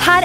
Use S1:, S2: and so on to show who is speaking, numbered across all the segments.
S1: her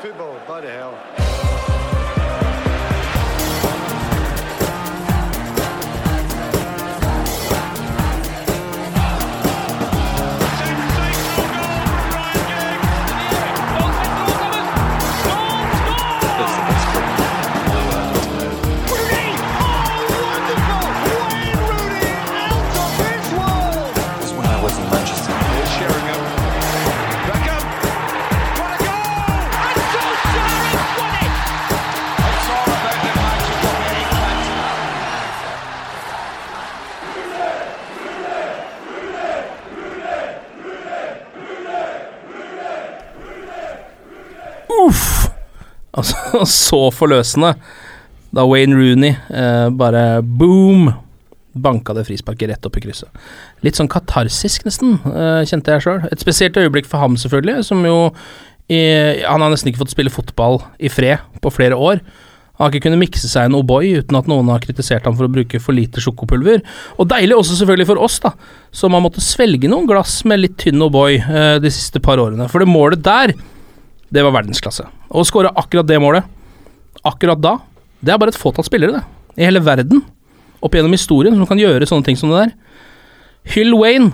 S2: Football, bloody hell.
S3: Uff! Altså, så forløsende. Da Wayne Rooney eh, bare boom! Banka det frisparket rett opp i krysset. Litt sånn katarsisk, nesten, eh, kjente jeg sjøl. Et spesielt øyeblikk for ham, selvfølgelig, som jo i, Han har nesten ikke fått spille fotball i fred på flere år. Han har ikke kunnet mikse seg en O'boy uten at noen har kritisert ham for å bruke for lite sjokopulver. Og deilig også selvfølgelig for oss, da, som har måttet svelge noen glass med litt tynn O'boy eh, de siste par årene. For det målet der, det var verdensklasse. Og Å skåre akkurat det målet, akkurat da, det er bare et fåtall spillere, det. I hele verden, opp gjennom historien, som kan gjøre sånne ting som det der. Hyll Wayne,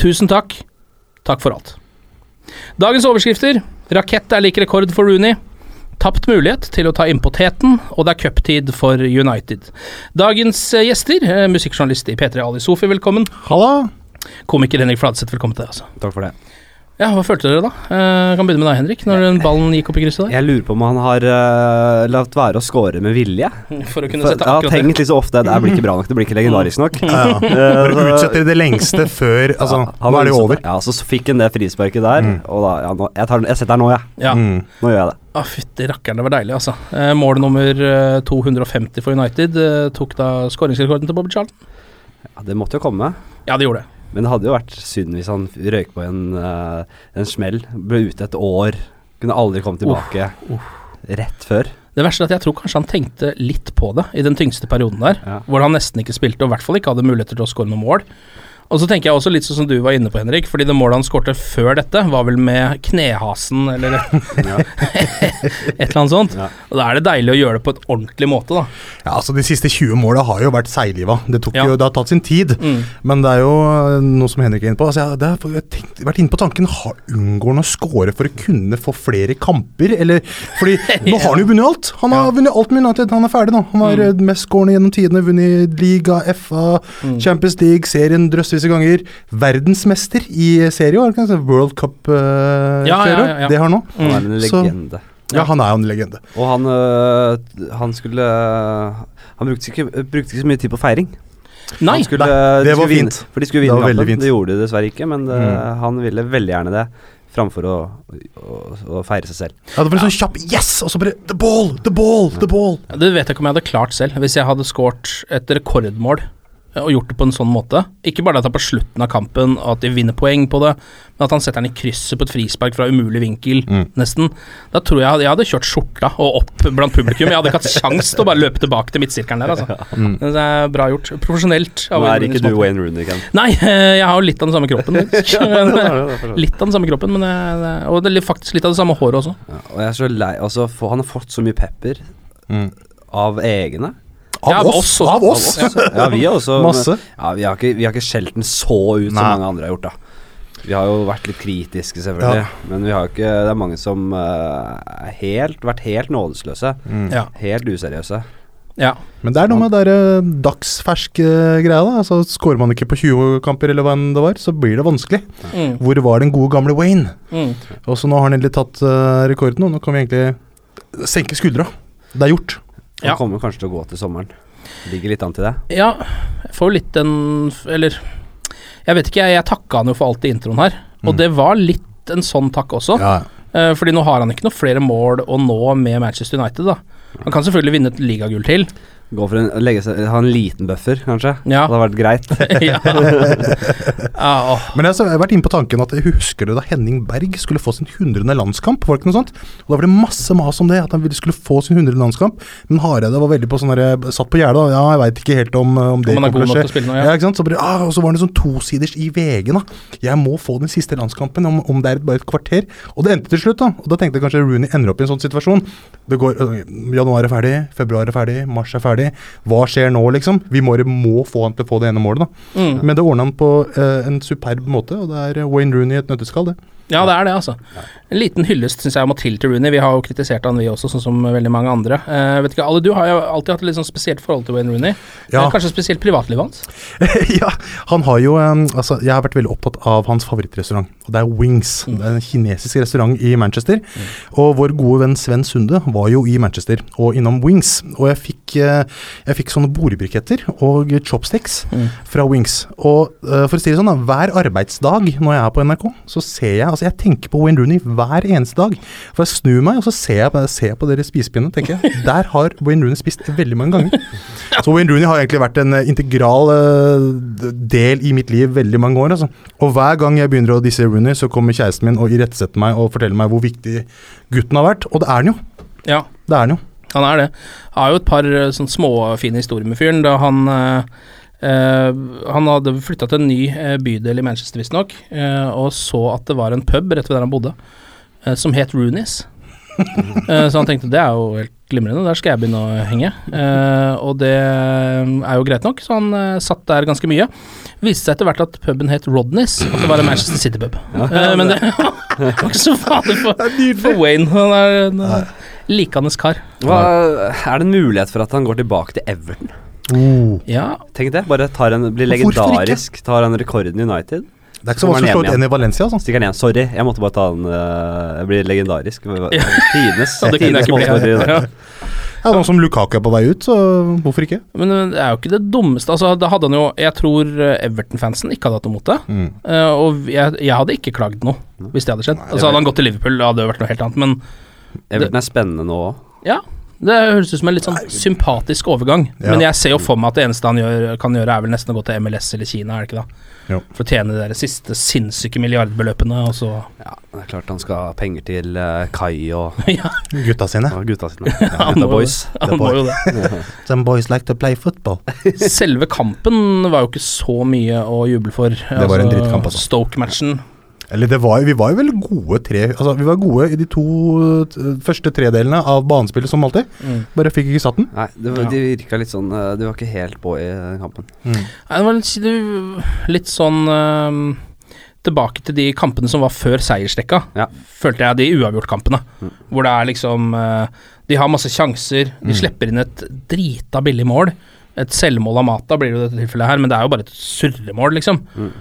S3: tusen takk. Takk for alt. Dagens overskrifter. Rakett er lik rekord for Rooney. Tapt mulighet til å ta inn poteten, og det er cuptid for United. Dagens eh, gjester, eh, musikkjournalist i P3 Ali Sofi, velkommen.
S4: Hallo!
S3: Komiker Henrik Fladseth, velkommen til deg også.
S4: Takk for det.
S3: Ja, hva følte dere da? Eh, kan begynne med deg, Henrik, når den ballen gikk opp i krysset der.
S4: Jeg lurer på om han har uh, latt være å score med vilje.
S3: For å kunne
S4: For, jeg
S3: sette
S4: har
S3: akkurat det.
S4: tenkt liksom ofte det her blir ikke bra nok, det blir ikke legendarisk nok. Eh,
S5: Når du utsetter i det lengste før Altså,
S4: Han
S5: nå er det jo
S4: liksom-
S5: over.
S4: Ja, så fikk han det frisparket der, og da ja, nå, jeg, tar, den- jeg setter den nå, jeg.
S3: Ja.
S5: Mm.
S4: Nå gjør jeg det.
S3: Ah, Fytti rakkeren, det var deilig, altså. Eh, mål nummer eh, 250 for United eh, tok da skåringsrekorden til Bobby Charlton.
S4: Ja, det måtte jo komme.
S3: Ja, det gjorde det.
S4: Men det hadde jo vært synd hvis han røyk på en, eh, en smell, ble ute et år, kunne aldri komme tilbake. Rett før.
S3: Det verste er at jeg tror kanskje han tenkte litt på det i den tyngste perioden der,
S4: Ja.
S3: hvor han nesten ikke spilte og i hvert fall ikke hadde muligheter til å skåre noe mål. Og så tenker jeg også litt sånn som du var inne på, Henrik, fordi det målet han skårte før dette, var vel med knehasen eller et eller annet sånt.
S4: Ja.
S3: Og da er det deilig å gjøre det på et ordentlig måte, da.
S5: Ja, altså De siste 20 måla har jo vært seigliva. Det, tok
S3: Ja.
S5: jo, det har tatt sin tid. Men det er jo eh, noe som Henrik er inne på. Altså, jeg, det har jeg har tenkt, vært inne på tanken har, Unngår han å score for å kunne få flere kamper? Eller, fordi nå har han jo vunnet alt! Han har vunnet alt med United. Han er ferdig nå. Han har mm. mest skårende gjennom tidene. Vunnet liga, FA, Champions League, serien drøssevis av ganger. Verdensmester i eh, serie, var det ikke det? World eh, Cup-serie.
S3: Ja, ja, ja, ja.
S5: Det har han nå.
S4: Han er en
S5: Så-
S4: legende.
S5: Ja, han er jo en legende.
S4: Og han, øh, han skulle eh, Han brukte ikke, brukte ikke så mye tid på feiring.
S3: Nei!
S4: han skulle, eh,
S5: Nei, det
S4: de
S5: var
S4: skulle vinne,
S5: fint.
S4: For de skulle
S5: Det
S4: vinne
S5: var veldig
S4: kampen.
S5: fint.
S4: Det gjorde de dessverre ikke, men øh,
S5: Mm.
S4: han ville veldig gjerne det. Framfor å, å, å feire seg selv.
S5: Ja, det var en sånn kjapp 'yes', og så bare 'the ball', 'the ball', 'the ball'.
S3: Ja, Det vet jeg ikke om jeg hadde klart selv, hvis jeg hadde skåret et rekordmål eh, og gjort det på en sånn måte. Ikke bare at det er på slutten av kampen og at de vinner poeng på det, men at han setter den i krysset på et frispark fra umulig vinkel,
S4: Mm.
S3: nesten. Da tror jeg jeg hadde kjørt skjorta og opp blant publikum. Jeg hadde ikke hatt sjans til å bare løpe tilbake til midtsirkelen der, altså. Det er bra gjort. Profesjonelt. av
S4: Mm. Nå er
S3: Wayne
S4: ikke
S3: Rooney
S4: du
S3: som-
S4: Wayne Rooney, Ken.
S3: Nei, eh, jeg har jo litt av den samme kroppen. faktisk.
S4: for så vidt.
S3: litt av den samme kroppen, men jeg, det- og det er faktisk litt av det samme håret også.
S4: Ja, og jeg er så lei altså, for, Han har fått så mye pepper
S5: Mm.
S4: av egne.
S5: Av
S3: Ja, av
S5: oss!
S3: oss også.
S5: Av oss!
S4: Ja, vi har også
S5: Masse.
S4: men- Ja, vi har ikke, vi har ikke skjelt den så ut som
S5: Nei.
S4: mange andre har gjort, da. Vi har jo vært litt kritiske, selvfølgelig.
S5: Ja.
S4: Men vi har jo ikke Det er mange som eh, er helt, vært helt nådesløse.
S3: Ja.
S4: Helt useriøse.
S3: Ja.
S5: Men det er noe med det der, eh, dagsferske greia. da altså, Skårer man ikke på 20 kamper, eller hva enn det var, så blir det vanskelig.
S3: Mm.
S5: Hvor var den gode gamle Wayne?
S3: Mm.
S5: Og så nå har han endelig tatt eh, rekorden, og nå kan vi egentlig senke skuldra. Det er gjort.
S3: Ja.
S4: Han kommer kanskje til å gå til sommeren. Ligger litt an til det.
S3: Ja, jeg får jo litt den Eller jeg vet ikke, jeg, jeg takka han jo for alt i introen her. Og
S5: Mm.
S3: det var litt en sånn takk også.
S5: Ja,
S3: Eh, fordi nå har han ikke noe flere mål å nå med Manchester United, da. Han kan selvfølgelig vinne et ligagull til.
S4: Gå for en, legge seg, ha en liten buffer, kanskje.
S3: Ja.
S4: Det hadde vært greit.
S3: ja. ja, åh.
S5: Men altså, jeg har så- jeg har vært inne på tanken at jeg husker du da Henning Berg skulle få sin 100. landskamp? Var det ikke noe sånt? Og da var det masse mas om det, at han ville- skulle få sin 100. landskamp. Men Hareide var veldig på sånn der, satt på gjerdet og ja, jeg veit ikke helt om, om det
S3: Om han er
S5: kommer
S3: god nok til å
S5: til å
S3: spille nå,
S5: skje.
S3: ja.
S5: Ja, ikke sant? Så bare, ah, og så var det sånn tosiders i VG, da. Jeg må få den siste landskampen, om, om det er et- bare et kvarter. Og det endte til slutt, da. Og da tenkte jeg kanskje Rooney ender opp i en sånn situasjon. Det går, øh, Januar er ferdig, februar er ferdig, mars er ferdig. Hva skjer nå, liksom? Vi må, må få han til å få det ene målet, da.
S3: Mm.
S5: Men det ordna han på eh, en superb måte, og det er Wayne Rooney i et nøtteskall, det.
S3: Ja, det er det, altså. En liten hyllest syns jeg må til til Rooney. Vi har jo kritisert han vi også, sånn som veldig mange andre. Eh, vet ikke, alle, Du har jo alltid hatt et litt sånn spesielt forhold til Wayne Rooney.
S5: Ja.
S3: Eh, Kanskje spesielt privatlivet hans?
S5: ja, han har jo eh, Altså, jeg har vært veldig opptatt av hans favorittrestaurant, og det er Wings. Det er en kinesisk restaurant i Manchester. Og vår gode venn Sven Sunde var jo i Manchester og innom Wings. Og jeg fikk, eh, jeg fikk sånne bordbriketter og chopsticks fra Wings. Og eh, for å si det sånn, da, hver arbeidsdag når jeg er på NRK, så ser jeg Altså, jeg tenker på Wayne Rooney hver eneste dag. For jeg snur meg, og så ser jeg, på- ser jeg på dere spisepinnene, tenker jeg. Der har Wayne Rooney spist veldig mange ganger. Så Wayne Rooney har egentlig vært en eh, integral eh, d- del i mitt liv veldig mange år. Altså. Og hver gang jeg begynner å disse Rooney, så kommer kjæresten min og irettesetter meg og forteller meg hvor viktig gutten har vært. Og det er han jo.
S3: Ja,
S5: Det er han jo.
S3: han er det. Har jo et par eh, sånn småfine historier med fyren. Da han eh, eh, Han hadde flytta til en ny eh, bydel i Manchester, visstnok, eh, og så at det var en pub rett ved der han bodde, eh, som het Roonies. Eh, så han tenkte det er jo helt glimrende, der skal jeg begynne å henge. Eh, og det mm, er jo greit nok, så han eh, satt der ganske mye. Viste seg etter hvert at puben het Rodneys, at det var en Manchester City-pub. Eh, men det var ikke så farlig for, for Wayne. Han er en eh, likandes kar.
S4: Hva, er det en mulighet for at han går tilbake til Everton?
S3: Ja,
S4: Tenk det. Bare tar en, blir
S5: Hvorfor ikke?
S4: legendarisk. Tar han rekorden i United.
S5: Det er ikke så vanskelig å slå ut en i Valencia. Altså.
S4: Stikker han igjen. Sorry, jeg måtte bare ta den. øh, Jeg blir legendarisk.
S3: Ja.
S4: Tidenes.
S3: Ja, det kunne jeg ikke
S4: tidenes
S3: bli.
S4: målscorer i United.
S3: Ja.
S5: Ja, Nå som Lukaku er på vei ut, så hvorfor ikke?
S3: Men eh, det er jo ikke det dummeste. Altså, da hadde han jo Jeg tror eh, Everton-fansen ikke hadde hatt noe mot det.
S5: Mm.
S3: Eh, og jeg, jeg hadde ikke klagd noe, hvis det hadde skjedd. Altså Hadde han gått til Liverpool, da hadde det vært noe helt annet. Men
S4: Everton er spennende nå òg.
S3: ja, det høres ut som en litt sånn sympatisk overgang.
S5: Ja.
S3: Men jeg ser jo for meg at det eneste han gjør, kan gjøre, er vel nesten å gå til MLS eller Kina, er det ikke da?
S5: Jo.
S3: For å tjene de der siste sinnssyke milliardbeløpene, og så
S4: Ja, det er klart han skal ha penger til øh, Kai og,
S3: Ja,
S5: Gutta sine.
S4: og gutta sine. Ja,
S3: må
S4: gutta
S3: jo
S4: boys.
S3: han må jo det.
S5: Some boys like to play football.
S3: Selve kampen var jo ikke så mye å juble for. Det
S5: var en drittkamp, altså.
S3: Stoke-matchen.
S5: Eller det var, jo- vi var jo vel gode tre Altså, vi var gode i de to eh, første tredelene av banespillet, som alltid.
S3: Mm.
S5: Bare fikk ikke satt den.
S4: Nei, det, var- de virka litt sånn øh, De var ikke helt på i den kampen.
S3: Nei, det var litt, du- litt sånn øhm, Tilbake til de kampene som var før seiersrekka,
S4: Ja.
S3: følte jeg de uavgjort-kampene. Hvor det er liksom øh, De har masse sjanser, de slipper inn et drita billig mål. Et selvmål av Mata blir det jo i dette tilfellet her, men det er jo bare et surremål, liksom.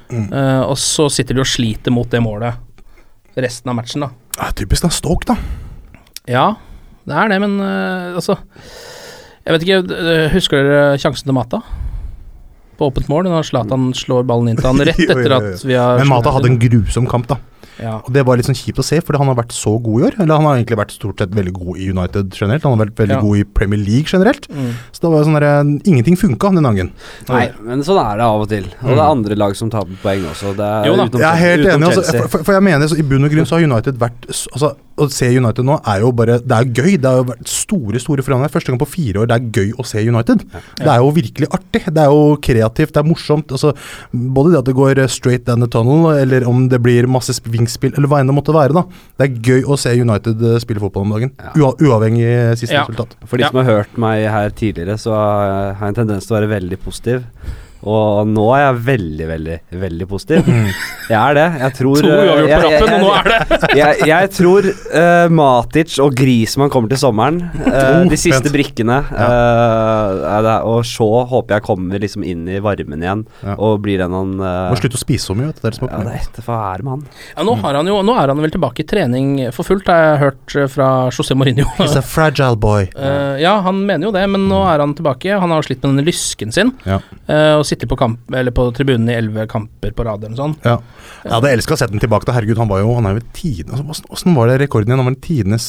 S3: Eh, og så sitter de og sliter mot det målet resten av matchen, da.
S5: Ja, typisk da, Stoke, da.
S3: Ja, det er det, men øh, altså Jeg vet ikke, øh, husker dere sjansen til Mata? På åpent mål, når Zlatan slår ballen inn til han rett
S5: Jo, jo,
S3: etter
S5: jo.
S3: at vi har
S5: Men Mata hadde en grusom kamp, da.
S3: ja.
S5: Og Det var litt sånn kjipt å se, fordi han har vært så god i år. Eller han har egentlig vært stort sett veldig god i United generelt. Han har vært veldig
S3: Ja.
S5: god i Premier League generelt.
S4: Mm.
S5: Så det var jo sånn der, eh, Ingenting funka den dagen.
S4: Nei, men sånn er det av og til. Og det er andre lag som taper poeng også. Det er
S3: Mm. Jo da.
S4: utenom-
S5: Jeg er helt
S4: utenom
S5: enig. Altså,
S4: Chelsea.
S5: for- for, for jeg mener, så I bunn og grunn så har United vært s- altså, Å se United nå er jo bare Det er jo gøy. Det har jo vært store store forandringer. Første gang på fire år det er gøy å se United. Det er jo virkelig artig. Det er jo kreativt, det er morsomt. Altså, både det at det går eh, straight down the tunnel, eller om det blir masse sp- vingspill, eller hva enn det måtte være. da Det er gøy å se United eh, spille fotball om dagen. Ua uavhengig eh, siste
S3: Ja.
S5: resultat.
S4: For de
S3: Ja.
S4: som har hørt meg her tidligere, så eh, har jeg en tendens til å være veldig positiv. Og nå er jeg veldig, veldig, veldig positiv. Jeg er det. Jeg tror
S3: Mm. To
S4: eh,
S3: uavgjort på
S4: jeg- jeg-
S3: rappen, og nå er det
S4: jeg, jeg tror eh, Matic og Griezmann kommer til sommeren. Eh,
S5: Oh,
S4: de siste
S5: vent.
S4: brikkene. eh, er det, og Shaw håper jeg kommer liksom inn i varmen igjen
S5: Ja.
S4: og blir den han eh,
S5: Må slutte å spise så mye. vet du, Det er det som er
S4: ja, det
S5: problemet.
S4: er etter hva er det med han?
S3: ja, nå, har han jo, nå er han vel tilbake i trening for fullt, har jeg hørt eh, fra José Mourinho.
S5: He's a fragile boy.
S3: Eh, ja, han mener jo det, men nå er han tilbake. Han har jo slitt med denne lysken sin,
S5: Ja.
S3: eh, og sitter på, kamp, eller på tribunen i elleve kamper på rad eller noe sånt.
S5: Ja. Jeg hadde elska å sette den tilbake. Da. Herregud, han var jo han er jo tiden, altså, hvordan- Hvordan var det rekorden igjen? Han var tidenes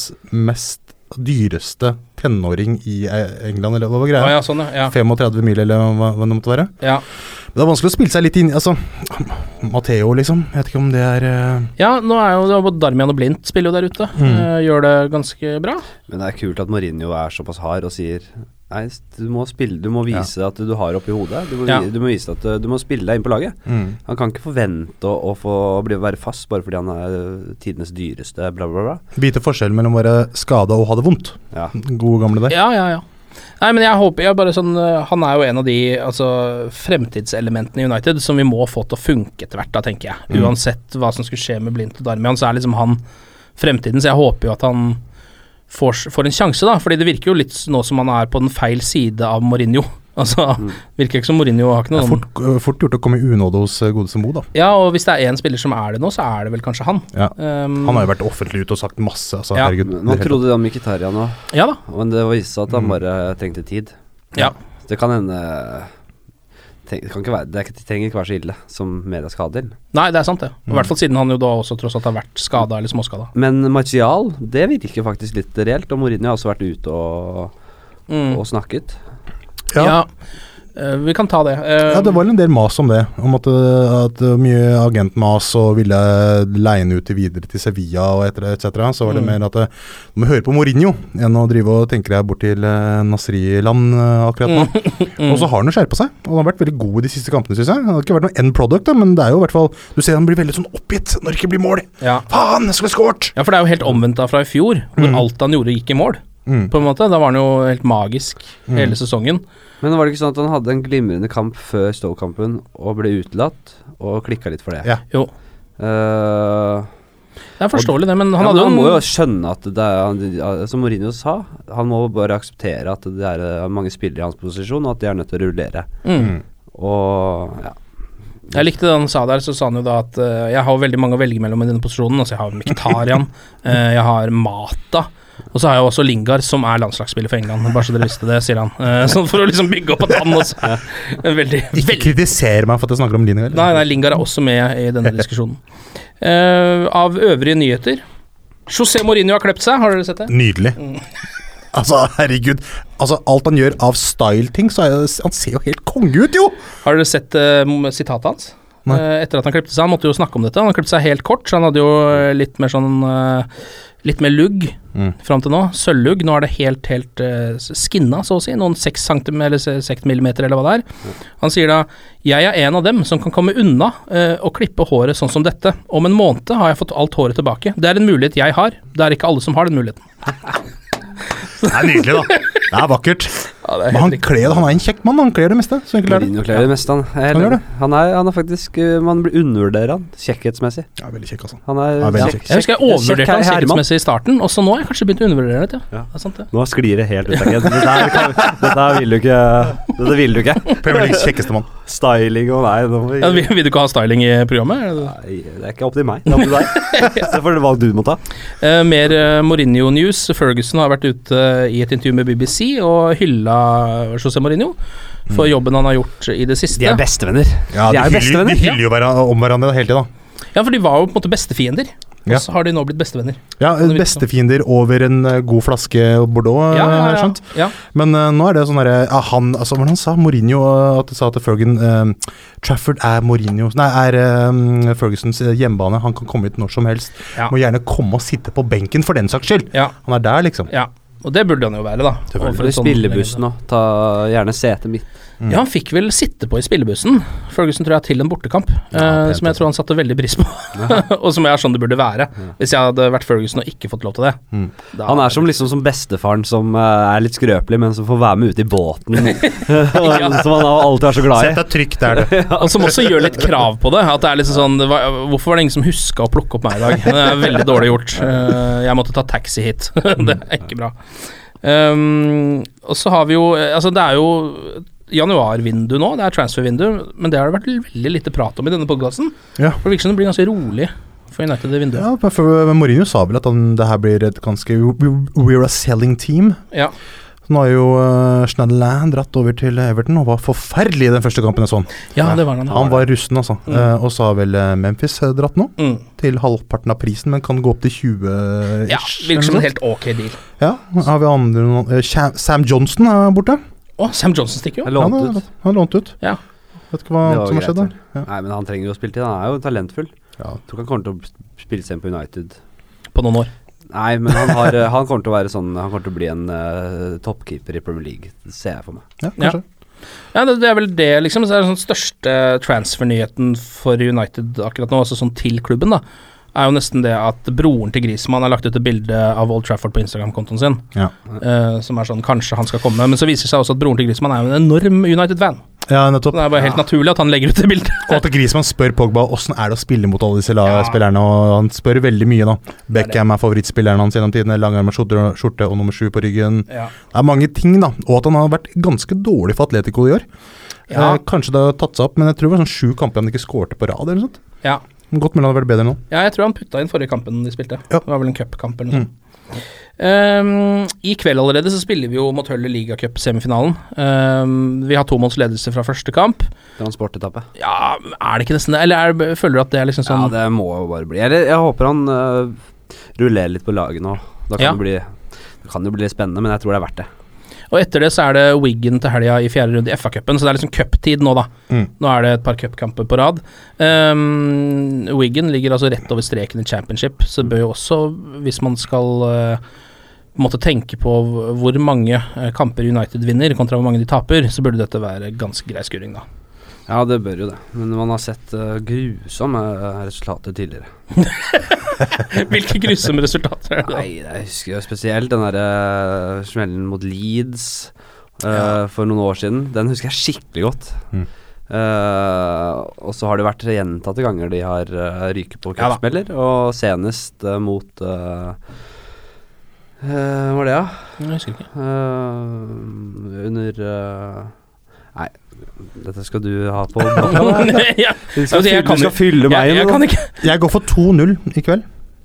S5: mest dyreste tenåring i eh, England, eller hva var greia?
S3: Å ja, sånn, ja.
S5: 35 mil, eller hva, hva det måtte være.
S3: Ja.
S5: Men Det er vanskelig å spille seg litt inn Altså, Matheo, liksom. Jeg vet ikke om det er eh,
S3: ja, nå er jo det er både Darmian og Blindt spiller jo der ute.
S5: Mm.
S3: eh, gjør det ganske bra.
S4: Men det er kult at Mourinho er såpass hard og sier Nei, s- du må spille Du må vise at du har oppi hodet. Du må, vi-
S3: Ja.
S4: du må vise at eh, du må spille deg inn på laget. Han kan ikke forvente å, å få å bli, være fast bare fordi han er eh, tidenes dyreste, bla, bla, bla.
S5: Vite forskjellen mellom å være skada og ha det vondt.
S4: Ja.
S5: Gode gamle der.
S3: Ja, ja, ja. Nei, men jeg håper jeg bare sånn eh, Han er jo en av de altså, fremtidselementene i United som vi må få til å funke etter hvert, da, tenker
S5: Mm.
S3: jeg. Uansett hva som skulle skje med Blindt og Darmian, så er liksom han fremtiden, så jeg håper jo at han får, s- får en sjanse, da. Fordi det virker jo litt nå som han er på den feil side av Mourinho. Altså, virker ikke som Mourinho har ikke
S5: Mm. Det
S3: noe
S5: er
S3: sånn
S5: fort, eh, fort gjort å komme i unåde hos eh, godeste Mo, da.
S3: Ja, og hvis det er én spiller som er det nå, så er det vel kanskje han.
S5: Ja.
S3: Um,
S5: Han har jo vært offentlig ute og sagt masse. Altså,
S3: Ja,
S5: herregud.
S4: Men Man
S5: det er helt-
S4: trodde det om Mkhitaryan nå,
S3: Ja da.
S4: men det viste seg at
S3: Mm.
S4: han bare trengte tid.
S3: Ja.
S4: Så det kan hende tenk, det, kan ikke være, det, er ikke, det trenger ikke være så ille som media skal ha til.
S3: Nei, det er sant, det. I hvert fall siden han jo da også tross alt har vært skada eller småskada.
S4: Mm. Men Martial, det virker faktisk litt reelt. Og Mourinho har også vært ute og, og snakket.
S5: Ja.
S3: Mm. Ja. eh, vi kan ta det. Eh,
S5: Ja, det var en del mas om det. Om at, eh, at det var mye agentmas og ville leie han ut til videre til Sevilla og etter det, etc. Så var
S3: Mm.
S5: det mer at eh, du må høre på Mourinho enn å drive og tenke deg bort til eh, Nasri-land eh, akkurat nå.
S3: Mm.
S5: Og så har han jo skjerpa seg, og han har vært veldig god i de siste kampene, syns jeg. Han har ikke vært noe end product, da, men det er jo i hvert fall Du ser han blir veldig sånn oppgitt når det ikke blir mål.
S3: Ja.
S5: Faen, jeg skulle skåret!
S3: Ja, for det er jo helt omvendt da fra i fjor,
S5: Mm.
S3: hvor alt han gjorde gikk i mål. På en måte, Da var han jo helt magisk
S5: Mm.
S3: hele sesongen.
S4: Men var det ikke sånn at han hadde en glimrende kamp før Stoke-kampen og ble utelatt, og klikka litt for det?
S5: Ja.
S3: Jo,
S4: Eh,
S3: Det er forståelig, det, men han
S4: ja, men
S3: hadde
S4: han må
S3: jo
S4: jo
S3: en
S4: skjønne at det er han- Som Mourinho sa, han må bare akseptere at det er eh, mange spillere i hans posisjon, og at de er nødt til å rullere.
S3: Mm.
S4: Og ja.
S3: Jeg likte det han sa der, så sa han jo da at eh, jeg har jo veldig mange å velge mellom i denne posisjonen. Altså, jeg har Miktarian, jeg har Mata, og så har jeg også Lingard, som er landslagsspiller for England. Bare så dere visste det, sier han. Eh, sånn for å liksom bygge opp at han også er veldig,
S5: Ikke
S3: veldig
S5: kritiser meg for at jeg snakker om Lino, eller?
S3: Nei, nei, Lingard er også med i denne diskusjonen. Eh, av øvrige nyheter José Mourinho har klept seg, har dere sett det?
S5: Nydelig. Altså, herregud. Altså, alt han gjør av style-ting, så er jo Han ser jo helt konge ut, jo!
S3: Har dere sett eh, m- sitatet hans?
S5: Nei.
S3: Eh, etter at han klipte seg, han måtte jo snakke om dette. Han klipte seg helt kort, så han hadde jo eh, litt mer sånn eh, Litt mer lugg fram til nå. Sølvlugg. Nå er det helt, helt eh, s- skinna, så å si. Noen seks centimeter, eller se- seks millimeter, eller hva det er. Han sier da 'Jeg er en av dem som kan komme unna eh, å klippe håret sånn som dette'. 'Om en måned har jeg fått alt håret tilbake'. Det er en mulighet jeg har. Det er ikke alle som har den muligheten.
S5: Det er nydelig, da. Det er vakkert.
S3: Ja, det er
S5: Men han
S3: helt riktig.
S5: kler, han er en kjekk mann. Han kler det meste. Så enkelt er det.
S4: Mourinho kler det meste, han. Jeg er helt
S5: Han gjør
S4: enig. Han er, han er faktisk eh, Man blir undervurderer han kjekkhetsmessig.
S5: Ja, veldig kjekk, altså.
S4: Han er,
S5: Ja, veldig kjekk.
S3: Jeg husker jeg overvurderte han
S4: herremann.
S3: sikkerhetsmessig i starten, og så nå har jeg kanskje begynt å undervurdere det. Ja.
S4: Ja.
S3: Det er sant, det.
S4: Nå sklir det helt ut, Agent. Dette, her kan- dette her vil du ikke Dette vil du ikke.
S5: Premier Leagues kjekkeste mann.
S4: Styling og nei, nå må vi-
S3: Ja, vil, vil du ikke ha styling i programmet? Er det det?
S4: Nei, det er ikke opp til meg. Det er opp til deg. Se for deg valg du må ta.
S3: Eh, mer eh, Mourinho-news. Ferguson har vært ute eh, i et intervju med BBC og hylla José Mourinho for
S5: Mm.
S3: jobben han har gjort i det siste.
S4: bestevenner.
S5: Ja,
S4: de er jo
S5: hyller, de
S4: bestevenner.
S5: hyller jo hverandre om hverandre hele tida.
S3: Ja, for de var jo på en måte bestefiender,
S5: Ja.
S3: og så har de nå blitt bestevenner.
S5: Ja, bestefiender over en eh, god flaske Bordeaux, eh, har jeg skjønt.
S3: ja.
S5: Men eh, nå er det sånn derre ja, Han altså, hva var det han sa Mourinho eh, at det sa til Fergan eh, Trafford er Mourinho Nei, er eh, Fergusons eh, hjemmebane. Han kan komme hit når som helst.
S3: Ja.
S5: Må gjerne komme og sitte på benken for den saks skyld.
S3: Ja.
S5: Han er der, liksom.
S3: ja. Og det burde han jo være, da.
S5: Selvfølgelig.
S3: Overfor
S4: For
S3: en
S4: i
S3: sånn
S4: spillebussen òg. Ta gjerne setet mitt.
S3: legende. Ja, han fikk vel sitte på i spillebussen, Ferguson tror jeg, til en bortekamp. eh,
S5: pent,
S3: som jeg
S5: altså.
S3: tror han satte veldig pris på, og som jeg er sånn det burde være. Hvis jeg hadde vært Ferguson og ikke fått lov til det.
S5: Mm.
S3: Da-
S4: Han er som liksom som bestefaren som eh, er litt skrøpelig, men som får være med ut i båten. som han alltid er så glad i.
S5: Sett deg trygt der, det.
S3: Og som også gjør litt krav på det. At det er liksom sånn det var, Hvorfor var det ingen som huska å plukke opp meg i dag? Det er veldig dårlig gjort. Eh, Jeg måtte ta taxi hit. Det er ikke bra. Um, og så har vi jo Altså, det er jo januarvindu nå, det er transfervindu, men det har det vært veldig lite prat om i denne podkasten.
S5: Ja.
S3: For det virker som det blir ganske rolig for United i vinduet.
S5: Ja, men for eh, Mourinho sa vel at han, det her blir et ganske We're a selling team.
S3: Ja.
S5: Nå har jo uh, Schneiderland dratt over til Everton og var forferdelig i den første kampen jeg så han.
S3: ja. det var han.
S5: Han var rusten, altså. Eh, og så har vel eh, Memphis eh, dratt nå,
S3: mm.
S5: til halvparten av prisen, men kan gå opp til 20 -ish,
S3: Ja, virker som en
S5: eller noe sånt.
S3: helt ok deal.
S5: Ja, har vi andre noen eh, Sha- Sam Johnson er borte.
S3: Å, Sam Johnson stikker jo.
S4: Jeg lånte
S5: han er,
S4: ut.
S5: han er lånt ut.
S3: Ja.
S5: Vet ikke hva
S4: Det var
S5: annet som har
S4: greit,
S5: skjedd der. Ja.
S4: Nei, men han trenger jo å spille til. Han er jo talentfull.
S5: Ja.
S4: Jeg tror ikke han kommer til å spille seg inn på United.
S3: På noen år.
S4: Nei, men han, har, eh, han kommer til å være sånn Han kommer til å bli en eh, toppkeeper i Premier League. Det ser jeg for meg.
S5: Ja, kanskje.
S3: Ja, det, det er vel det, liksom. Så er det sånn største transfer-nyheten for United akkurat nå, altså sånn til klubben, da, er jo nesten det at broren til Griezmann har lagt ut et bilde av Old Trafford på Instagram-kontoen sin,
S5: Ja.
S3: eh, som er sånn kanskje han skal komme, men så viser det seg også at broren til Griezmann er jo en enorm United-fan. Så
S5: ja, nettopp.
S3: det er bare helt naturlig at han legger ut det bildet.
S5: Og at Griezmann spør Pogba åssen er det å spille mot alle disse
S3: Ja.
S5: la- spillerne, og han spør veldig mye, da. Beckham er favorittspilleren hans gjennom tidene. Langarmet skjorte, skjorte og nummer sju på ryggen.
S3: Ja.
S5: Det er mange ting, da. Og at han har vært ganske dårlig for Atletico i år.
S3: Ja.
S5: Eh, kanskje det har tatt seg opp, men jeg tror det var sånn sju kamper han ikke skårte på rad. eller noe sånt.
S3: Ja.
S5: Men Godt mulig han hadde vært bedre nå.
S3: Ja, jeg tror han putta inn forrige kampen de spilte.
S5: Ja. Mm.
S3: Det var vel en cupkamp eller noe sånt. Ehm, I kveld allerede så spiller vi jo mot Hølle ligacup-semifinalen. Ehm, vi har to måneds ledelse fra første kamp.
S4: Transportetappe.
S3: Ja, er det ikke nesten det? Eller er, føler du at det er liksom sånn
S4: Ja, det må jo bare bli Eller jeg håper han øh, rullerer litt på laget nå. Da kan
S3: Ja.
S4: det bli det kan jo bli litt spennende, men jeg tror det er verdt det.
S3: Og etter det så er det Wiggen til helga i fjerde runde i FA-cupen, så det er liksom cuptid nå, da.
S5: Mm.
S3: Nå er det et par cupkamper på rad. Um, Wiggen ligger altså rett over streken i championship, så det bør jo også, hvis man skal eh, på en måte tenke på hv- hvor mange eh, kamper United vinner kontra hvor mange de taper, så burde dette være ganske grei skuring, da.
S4: Ja, det bør jo det. Men man har sett øh, grusomme øh, resultater tidligere.
S3: Hvilke grusomme resultater er det? da?
S4: Nei, jeg husker jo spesielt den derre øh, smellen mot Leeds øh, for noen år siden. Den husker jeg skikkelig godt.
S5: Mm.
S4: Eh, og så har det vært gjentatte ganger de har øh, ryket på
S3: Ja da.
S4: cupsmeller, og senest øh, mot øh, øh, Hva var det, da?
S3: Jeg husker ikke.
S4: Eh, under eh, Nei, dette skal du ha på blokka.
S3: ja.
S4: Du
S3: Altså,
S4: skal,
S3: jeg
S4: fylle,
S3: kan
S4: du skal
S3: jo-
S4: fylle meg
S3: jeg, jeg
S4: med
S3: kan
S4: noe.
S3: ikke
S5: Jeg går for 2-0 i kveld.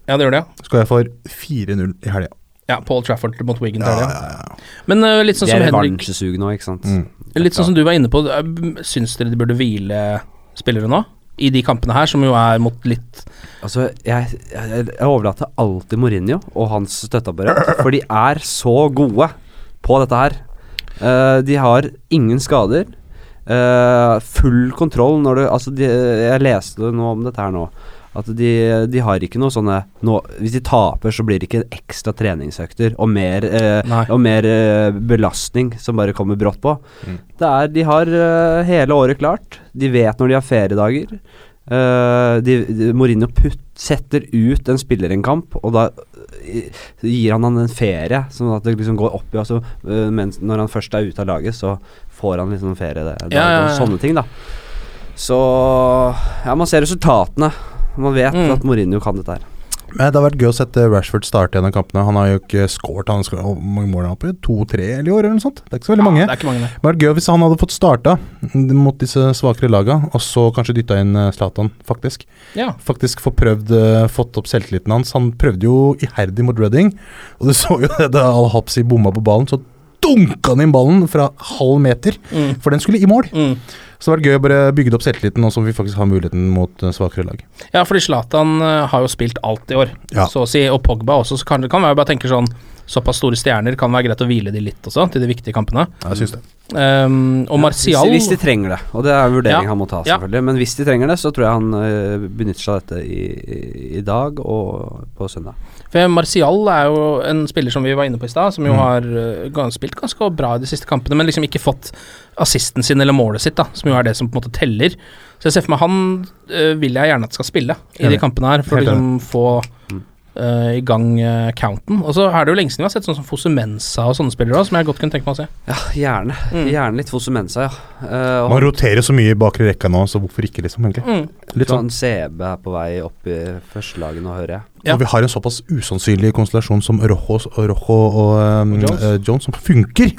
S3: Ja, det gjør det, ja.
S5: Så går jeg for 4-0 i helga.
S3: Ja, Paul Trafford mot Wiggen til
S5: Ja,
S3: helga. Men eh, litt sånn
S4: Jeg
S3: som
S4: er
S3: Henrik
S4: revansjesug nå, ikke sant.
S5: Mm.
S3: Litt sånn som du var inne på, eh, syns dere de burde hvile spillere nå? I de kampene her, som jo er mot litt
S4: Altså, jeg, jeg, jeg overlater alltid Mourinho og hans støtteapparat, for de er så gode på dette her. Eh, de har ingen skader. Eh, full kontroll når du Altså, de, jeg leste noe om dette her nå. At de, de har ikke noe sånne nå, Hvis de taper, så blir det ikke ekstra treningsøkter og mer, eh,
S3: Nei.
S4: og mer eh, belastning som bare kommer brått på.
S3: Mm.
S4: Det er, de har eh, hele året klart. De vet når de har feriedager. Eh, de, de, Mourinho putt, setter ut en spiller i en kamp, og da eh, gir han han en ferie, sånn at det liksom går opp i altså, eh, mens, Når han først er ute av laget, så får han liksom ferie. Det, det,
S3: Ja, ja, ja.
S4: og Sånne ting, da. Så Ja, man ser resultatene. Man vet
S3: Mm.
S4: at Mourinho kan dette her.
S5: Men det har vært gøy å sette Rashford starte en av kampene. Han har jo ikke scoret. Han skal, hvor mange mål har han på? To-tre i år, eller noe sånt? Det er ikke så veldig mange.
S3: Ja, det er ikke mange, det.
S5: Det hadde vært gøy hvis han hadde fått starta mot disse svakere laga, og så kanskje dytta inn eh, Zlatan, faktisk.
S3: Ja.
S5: Faktisk få prøvd, eh, fått opp selvtilliten hans. Han prøvde jo iherdig mot Reading, og du så jo det da Al-Hapsi bomma på ballen. så dunka han inn ballen fra halv meter,
S3: Mm.
S5: for den skulle i mål.
S3: Mm.
S5: Så det har vært gøy å bare bygge opp selvtilliten nå som vi faktisk har muligheten mot eh, svakere lag.
S3: Ja, fordi Zlatan eh, har jo spilt alt i år,
S5: Ja.
S3: så å si, og Pogba også, så kan det kan være bare tenker sånn Såpass store stjerner kan være greit å hvile de litt også, til de viktige kampene.
S5: Jeg syns det.
S3: Ehm, og Martial
S4: Hvis, hvis de trenger det, og det er en vurdering
S3: Ja.
S4: han må ta,
S3: Ja.
S4: selvfølgelig. Men hvis de trenger det, så tror jeg han øh, benytter seg av dette i, i, i dag og på søndag.
S3: For Martial er jo en spiller som vi var inne på i stad, som
S5: Mm.
S3: jo har eh, gans- spilt ganske bra i de siste kampene, men liksom ikke fått assisten sin eller målet sitt, da, som jo er det som på en måte teller. Så jeg ser for meg han eh, vil jeg gjerne at skal spille i de
S5: Enig.
S3: kampene her, for å
S5: Helt
S3: liksom få
S4: Mm.
S3: eh, i gang eh, counten. Og så er det jo lenge siden vi har sett sånn som Fosumensa og sånne spillere òg, som jeg godt kunne tenke meg å se.
S4: Ja, gjerne.
S3: Mm.
S4: Gjerne litt Fosumensa, ja. Eh, og
S5: Man roterer så mye i bakre rekka nå, så hvorfor ikke, liksom, egentlig.
S3: Mm.
S5: Litt sånn.
S4: sånn CB er på vei opp i førstelaget nå, hører jeg.
S3: Ja.
S5: Når vi har en såpass usannsynlig konstellasjon som Rojo og, Rojo og ehm,
S3: Og Jones.
S5: eh, Jones, som funker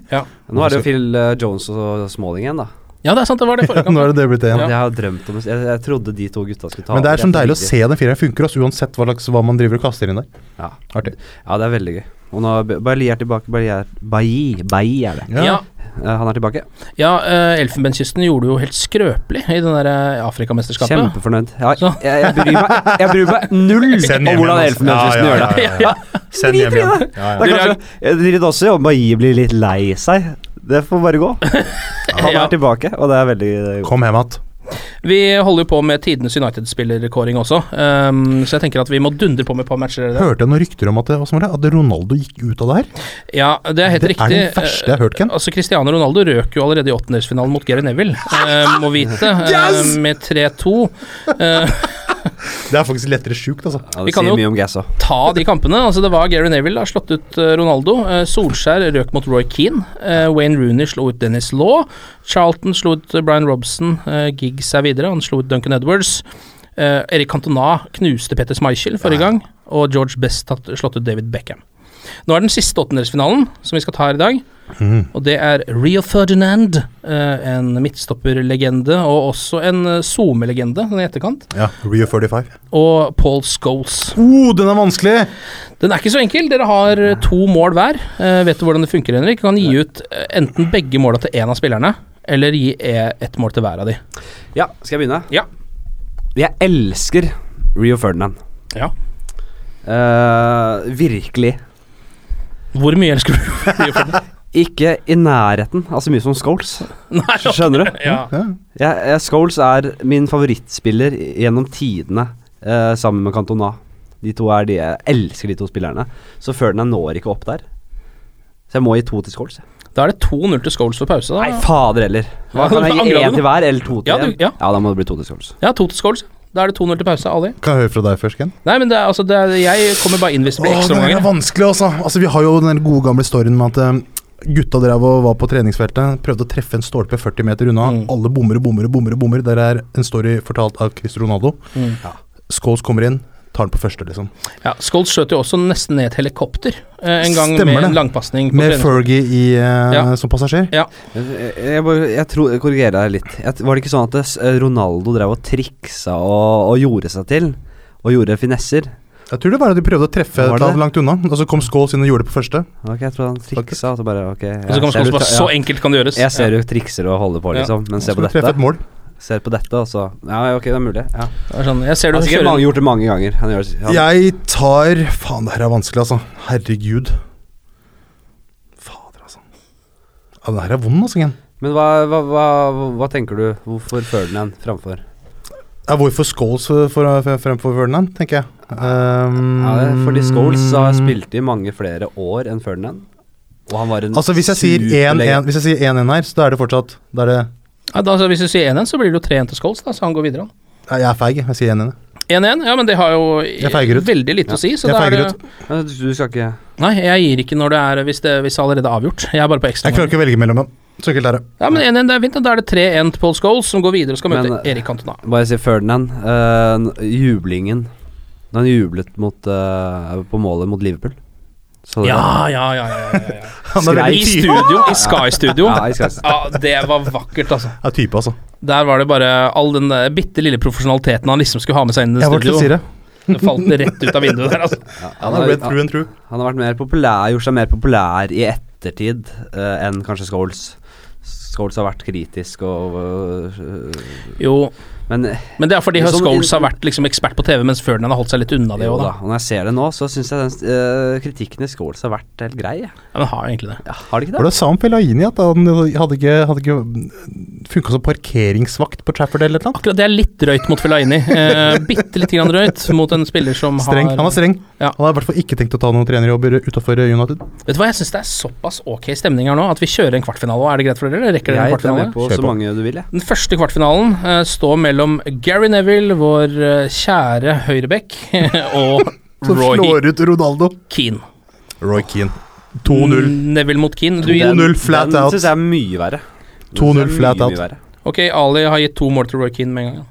S4: Nå er det jo Phil eh, Jones og Smalling igjen, da.
S3: Ja, det er sant, det var det forrige
S5: Nå er
S3: kamp.
S5: det det blitt det igjen.
S3: Ja.
S4: Jeg har drømt om jeg, jeg trodde de to gutta skulle ta
S5: Men det
S4: over
S5: er sånn
S4: etter
S5: deilig å
S4: Viggy.
S5: se den fireren funker, også, uansett hva, slags, hva man driver og kaster inn der.
S4: Ja.
S5: Artig.
S4: Ja, det er veldig gøy. Og nå er Ba- Bailly er tilbake. Bailly er Bailly, Bailly er det.
S3: Ja,
S4: Eh, han er tilbake.
S3: ja eh, Elfenbenskysten gjorde det jo helt skrøpelig i det der eh, Afrikamesterskapet.
S4: Kjempefornøyd. Ja,
S3: Så.
S4: jeg, jeg, bryr meg, jeg bryr meg null om
S5: Send hjem
S4: hvordan
S5: igjen, altså.
S4: Elfenbenskysten
S5: Ja, ja,
S4: gjør det.
S5: ja, ja, ja. Send hjem igjen. Ja,
S4: Det
S5: ja.
S4: er kanskje, jeg driter også i om Bailly blir litt lei seg. Det får bare gå. Han
S3: Ja.
S4: er tilbake, og det er veldig
S5: Kom hjem att.
S3: Vi holder jo på med tidenes United-spillerkåring også, ehm, så jeg tenker at vi må dundre på med et par matcher. dere.
S5: Hørte jeg noen rykter om at, det- hva som var det, at Ronaldo gikk ut av det her?
S3: Ja, det er helt
S5: Det er
S3: riktig.
S5: det verste jeg har hørt, Ken.
S3: Eh, Altså, Cristiano Ronaldo røk jo allerede i åttendelsfinalen mot Gary Neville, eh, må vite, eh,
S5: Yes!
S3: med 3-2. Eh,
S5: Det er faktisk lettere sjukt, altså.
S4: Ja,
S3: Vi
S4: det
S3: kan
S4: sier
S3: jo-
S4: mye om Gass òg.
S3: ta de kampene. Altså, det var Gary Neville har slått ut eh, Ronaldo. Eh, Solskjær røk mot Roy Keane. Eh, Wayne Rooney slo ut Dennis Law. Charlton slo ut eh, Brian Robson. Eh, Giggs er videre. Han slo ut Duncan Edwards. Eh, Erik Cantona knuste Petter Schmeichel forrige gang. Og George Best har slått ut David Beckham. Nå er den siste åttendelsfinalen som vi skal ta her i dag. Og det er Rio Ferdinand, eh, en midtstopperlegende og også en eh, SoMe-legende sånn i etterkant.
S5: Ja, Rio 45.
S3: Og Paul Scholes.
S5: Oh, den er vanskelig!
S3: Den er ikke så enkel. Dere har eh, to mål hver. Eh, vet du hvordan det funker, Henrik? Du kan gi ut eh, enten begge måla til én av spillerne, eller gi eh, ett mål til hver av de.
S4: Ja, skal jeg begynne?
S3: Ja.
S4: Jeg elsker Rio Ferdinand.
S3: Ja.
S4: Eh, virkelig.
S3: Hvor mye elsker du Rio Ferdinand?
S4: Ikke i nærheten av så mye som Scholes.
S3: Nei, ja.
S4: Skjønner du?
S3: Ja.
S4: Jeg, jeg, Scholes er min favorittspiller gjennom tidene, eh, sammen med Cantona. De to er de jeg elsker, de to spillerne. Så Ferdinand når ikke opp der. Så jeg må gi to til Scholes. jeg.
S3: Da er det 2-0 til Scholes for pause.
S4: Nei,
S3: Da.
S4: fader heller. Hva,
S3: Ja,
S4: kan jeg gi
S3: angrer du
S4: én
S3: nå?
S4: til hver, eller to til
S3: Ja, du-
S4: en?
S3: ja.
S4: da må det bli to til Scholes.
S3: Ja, to til Scholes. Da er det 2-0 til pause. Ali.
S5: Kan jeg høre fra deg først, Ken?
S3: Nei, men det er, altså, det er, jeg kommer bare inn hvis det blir
S5: Åh, det er
S3: ekstraomganger.
S5: vanskelig, altså. altså. Vi har jo den gode gamle storyen med at eh, gutta drev og var på treningsfeltet, prøvde å treffe en stolpe 40 meter unna.
S3: Mm.
S5: Alle bommer og bommer og bommer. og bommer. Der er en story fortalt av Cristiano Ronaldo.
S3: Mm.
S5: Scholes kommer inn, tar den på første, liksom.
S3: Ja, Scholes skjøt jo også nesten ned et helikopter eh, en gang
S5: Stemmer
S3: med
S5: det.
S3: en langpasning. på
S5: Med
S3: trening.
S5: Fergie i, eh,
S3: Ja.
S5: som passasjer.
S4: Jeg, jeg, bare- jeg, tror- jeg korrigerer deg litt. Jeg, var det ikke sånn at det, s- Ronaldo drev og triksa og, og gjorde seg til? Og gjorde finesser?
S5: Jeg tror det var at de prøvde å treffe
S4: Var
S5: et
S4: det?
S5: land langt unna, og så kom Scholes inn og gjorde det på første.
S4: Ok, jeg tror han triksa, og så bare
S3: Og
S4: ok.
S3: så kommer
S4: jeg ser
S3: Scholes
S4: du
S3: bare
S4: ta-
S3: Så
S4: ja.
S3: enkelt kan det gjøres.
S4: Jeg ser du trikser og holder på,
S3: Ja.
S4: liksom. Men se på
S5: Skulle treffe
S4: dette.
S5: et mål.
S4: Ser på dette, og så Ja, ok, det er mulig. Ja.
S3: Det er sånn, jeg ser du
S4: Han har sikkert
S3: kjører
S4: Altså, mange, gjort det mange ganger. Han gjør, han,
S5: Jeg tar Faen, det her er vanskelig, altså. Herregud. Fader, altså. Ja, den her er vond, altså, Ken.
S4: Men hva, hva, hva, hva tenker du? Hvorfor Ferdinand framfor?
S5: Ja, hvorfor Scholes for, for, for, fremfor Ferdinand, tenker jeg. Um,
S4: Ja, det er fordi Scholes har spilt i mange flere år enn Ferdinand. Og han var en
S5: Altså, hvis jeg sier
S4: superlege-
S5: 1-1 Hvis jeg sier 1-1 her, så da er det fortsatt Da er det
S3: Ja, da, altså, hvis du sier 1-1, så blir det jo 3-1 til Scholes, da, så han går videre. han.
S5: Nei, Jeg er feig, jeg. Jeg sier 1-1. jeg.
S3: 1-1, ja, men det har jo
S5: feiger ut.
S3: veldig lite å si. Så
S5: Jeg
S3: da er
S5: feiger
S3: det,
S4: Ja, Du du skal ikke
S3: nei, jeg gir ikke når det er hvis det, hvis det allerede er avgjort. Jeg er bare på ekstra.
S5: Jeg klarer ikke å velge mellom dem. Så enkelt er det.
S3: Ja, men 1-1, det er fint. da. Da er det 3-1 til Paul Scholes, som går videre og skal møte
S4: Men, eh,
S3: Erik Cantona.
S4: Bare si Ferdinand. eh, n- jublingen Da han jublet mot, eh, på målet mot Liverpool. Så det-
S3: Ja, ja, ja. ja, ja, ja, ja.
S5: Han er
S3: I
S5: veldig type,
S3: studio, i Sky Studio.
S4: Ja, i Sky
S3: Ja, det var vakkert, altså.
S5: ja, type altså.
S3: Der var det bare all den der bitte lille profesjonaliteten han liksom skulle ha med seg inn i
S5: Jeg var til å si
S3: studio.
S5: det.
S3: Det falt rett ut av vinduet der, altså.
S5: Han er red
S4: han-
S5: through and through.
S4: Han har vært mer populær, gjort seg mer populær i ettertid eh, enn kanskje Scholes. S- Scholes har vært kritisk og øh,
S3: Jo,
S4: Men eh,
S3: men det er fordi
S4: Liksom-
S3: Scholes har vært liksom ekspert på TV, mens Ferdinand har holdt seg litt unna det
S4: jo
S3: òg,
S4: da.
S3: da.
S4: Og når jeg ser det nå, så syns jeg den eh, kritikken i Scholes har vært helt grei. jeg.
S3: Ja, men har jo egentlig det.
S4: Ja, har det ikke
S5: Var
S4: det?
S5: det sa om Fellaini at han hadde ikke, hadde ikke funka som parkeringsvakt på Trafford eller noe?
S3: Akkurat det er litt drøyt mot Fellaini. Eh, Bitte lite grann drøyt mot en spiller som
S5: Streng.
S3: har
S5: Han er streng.
S3: Ja.
S5: Han har i hvert fall ikke tenkt å ta noen trenerjobber utafor United.
S3: Vet du hva, jeg syns det er såpass ok stemning her nå at vi kjører en kvartfinale. Er det greit for dere? eller Rekker dere en
S4: Jeg er
S3: kvartfinale?
S4: med på
S5: Kjør
S4: så
S5: på.
S4: mange du vil, jeg.
S3: Den første kvartfinalen eh, står mellom Gary Neville, vår eh, kjære høyreback, og
S5: Som
S3: Roy
S5: slår ut Ronaldo.
S3: Keane.
S5: Roy Keane.
S4: Mm.
S5: 2-0.
S3: Neville mot Keane. Du,
S5: 2-0 flat
S4: den
S5: out.
S4: syns jeg er mye verre. Den
S5: 2-0
S4: synes jeg er
S5: flat
S4: mye,
S5: out.
S4: mye verre.
S3: ok, Ali har gitt to mål til Roy Keane med en gang.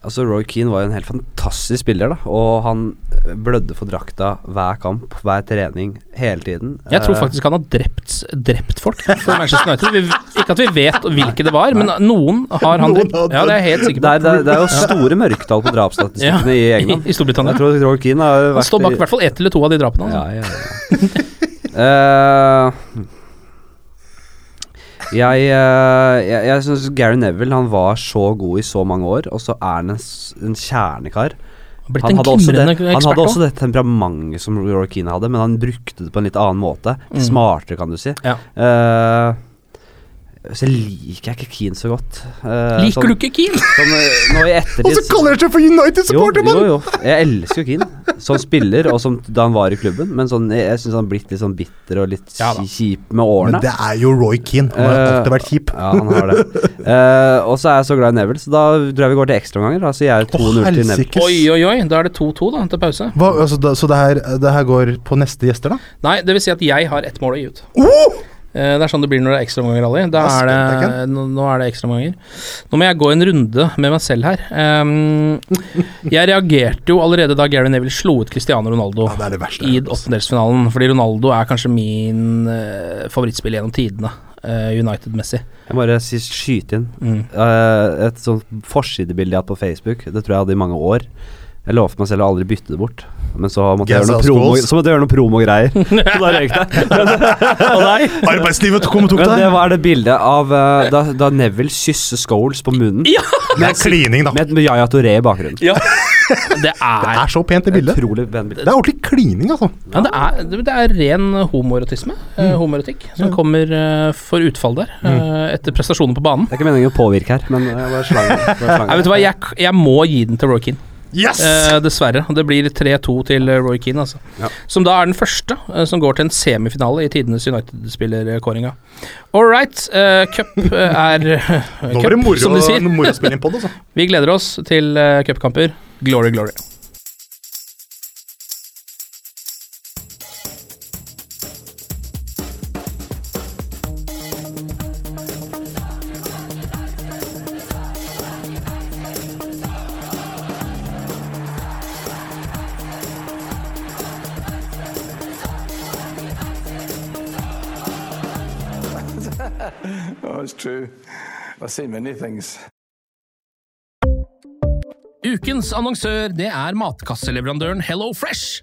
S4: Altså Roy Keane var jo en helt fantastisk spiller, da. Og han øh, blødde for drakta hver kamp, hver trening, hele tiden.
S3: Jeg tror
S4: Eh,
S3: faktisk han har drept, drept folk for Manchester United. Vi, ikke at vi vet hvilke det var, men noen har han drept. Ja, det er jeg helt
S4: det
S3: sikker på.
S4: er, det, er, det er jo store mørketall på drapsstatistikkene i England.
S3: I Storbritannia.
S4: Jeg tror Roy Keane har vært
S3: Han står bak i hvert fall ett eller to av de drapene.
S4: Ja,
S3: Altså.
S4: ja, ja. Eh, jeg uh, jeg, jeg syns Gary Neville han var så god i så mange år, og så er han en, s- en kjernekar.
S3: Blitt
S4: Han
S3: en
S4: hadde, også det,
S3: glimrende
S4: han
S3: ekspert altså.
S4: hadde
S3: også.
S4: også det temperamentet som Roy Keane hadde, men han brukte det på en litt annen måte.
S3: Mm.
S4: Smartere, kan du si.
S3: Ja.
S4: Eh, så liker jeg ikke Keane så godt. Eh,
S3: Liker du ikke Keane?
S4: Sånn, eh, nå i ettertid
S5: Og så kaller han seg for United-supporter,
S4: jo,
S5: mann!
S4: jo, jo. Jeg elsker jo Keane som spiller, og som da han var i klubben, men sånn, jeg, jeg syns han har blitt litt sånn bitter og litt
S3: Ja da.
S4: ki- kjip med årene.
S5: Men det er jo Roy Keane. Han har
S4: Eh,
S5: alltid vært kjip.
S4: Ja, han har det. Eh, og så er jeg så glad i Neville, så da tror jeg vi går til ekstraomganger. Da sier jeg 2-0 til Neville.
S5: helsikes.
S3: Oi, oi, oi. Da er det 2-2 da, til pause.
S5: Hva, altså, da, så det her, det her går på neste gjester, da?
S3: Nei, det vil si at jeg har ett mål å gi ut. Eh, Det er sånn det blir når det er ekstraomganger, Ali. Da
S5: Da
S3: er
S5: spilte jeg
S3: det, nå nå er det ekstraomganger. Nå må jeg gå en runde med meg selv her. Ehm, jeg reagerte jo allerede da Gary Neville slo ut Cristiano Ronaldo
S5: Ja, det er det verste.
S3: i åttendelsfinalen, fordi Ronaldo er kanskje min eh, favorittspiller gjennom tidene, eh, United-messig.
S4: Jeg må bare si, skyte inn
S3: Mm.
S4: Eh, et sånt forsidebilde jeg har hatt på Facebook. Det tror jeg jeg hadde i mange år. Jeg lovte meg selv å aldri bytte det bort, men så måtte jeg gjøre noe
S5: Gaza
S4: promo,
S5: Schools.
S4: så måtte jeg gjøre noe promogreier. Så da røyk det. Og nei.
S5: Arbeidslivet kom og tok
S4: Men
S5: deg!
S4: det var det bildet av eh, da, da Neville kysser Scholes på munnen.
S5: Det er klining, da.
S4: Med et Yaya Touré i bakgrunnen.
S3: Det
S5: Det
S3: er,
S5: er så pent, det bildet.
S4: Utrolig pen bilde.
S5: Det er ordentlig klining, altså.
S3: ja, det er, det er ren homoerotisme,
S5: Mm.
S3: eh, homoerotikk, som kommer eh, for utfall der, eh, etter prestasjonen på banen.
S4: Det er ikke meningen å påvirke her, men eh, jeg bare slang den. Bare
S3: Nei,
S4: slang
S3: vet
S4: den.
S3: du hva, jeg, jeg må gi den til Roy Keane.
S5: Yes!
S3: Eh, dessverre. Det blir 3-2 til eh, Roy Keane, altså.
S4: Ja.
S3: Som da er den første eh, som går til en semifinale i tidenes United-spillerkåringa. All right, eh, cup eh, er eh,
S5: Nå var det
S3: cup,
S5: moro,
S3: som de sier.
S5: moro å spille inn på det, altså.
S3: Vi gleder oss til eh, cupkamper. Glory, glory.
S2: Oh, it's true. I've seen many things.
S3: Ukens annonsør det er matkasseleverandøren Hello Fresh.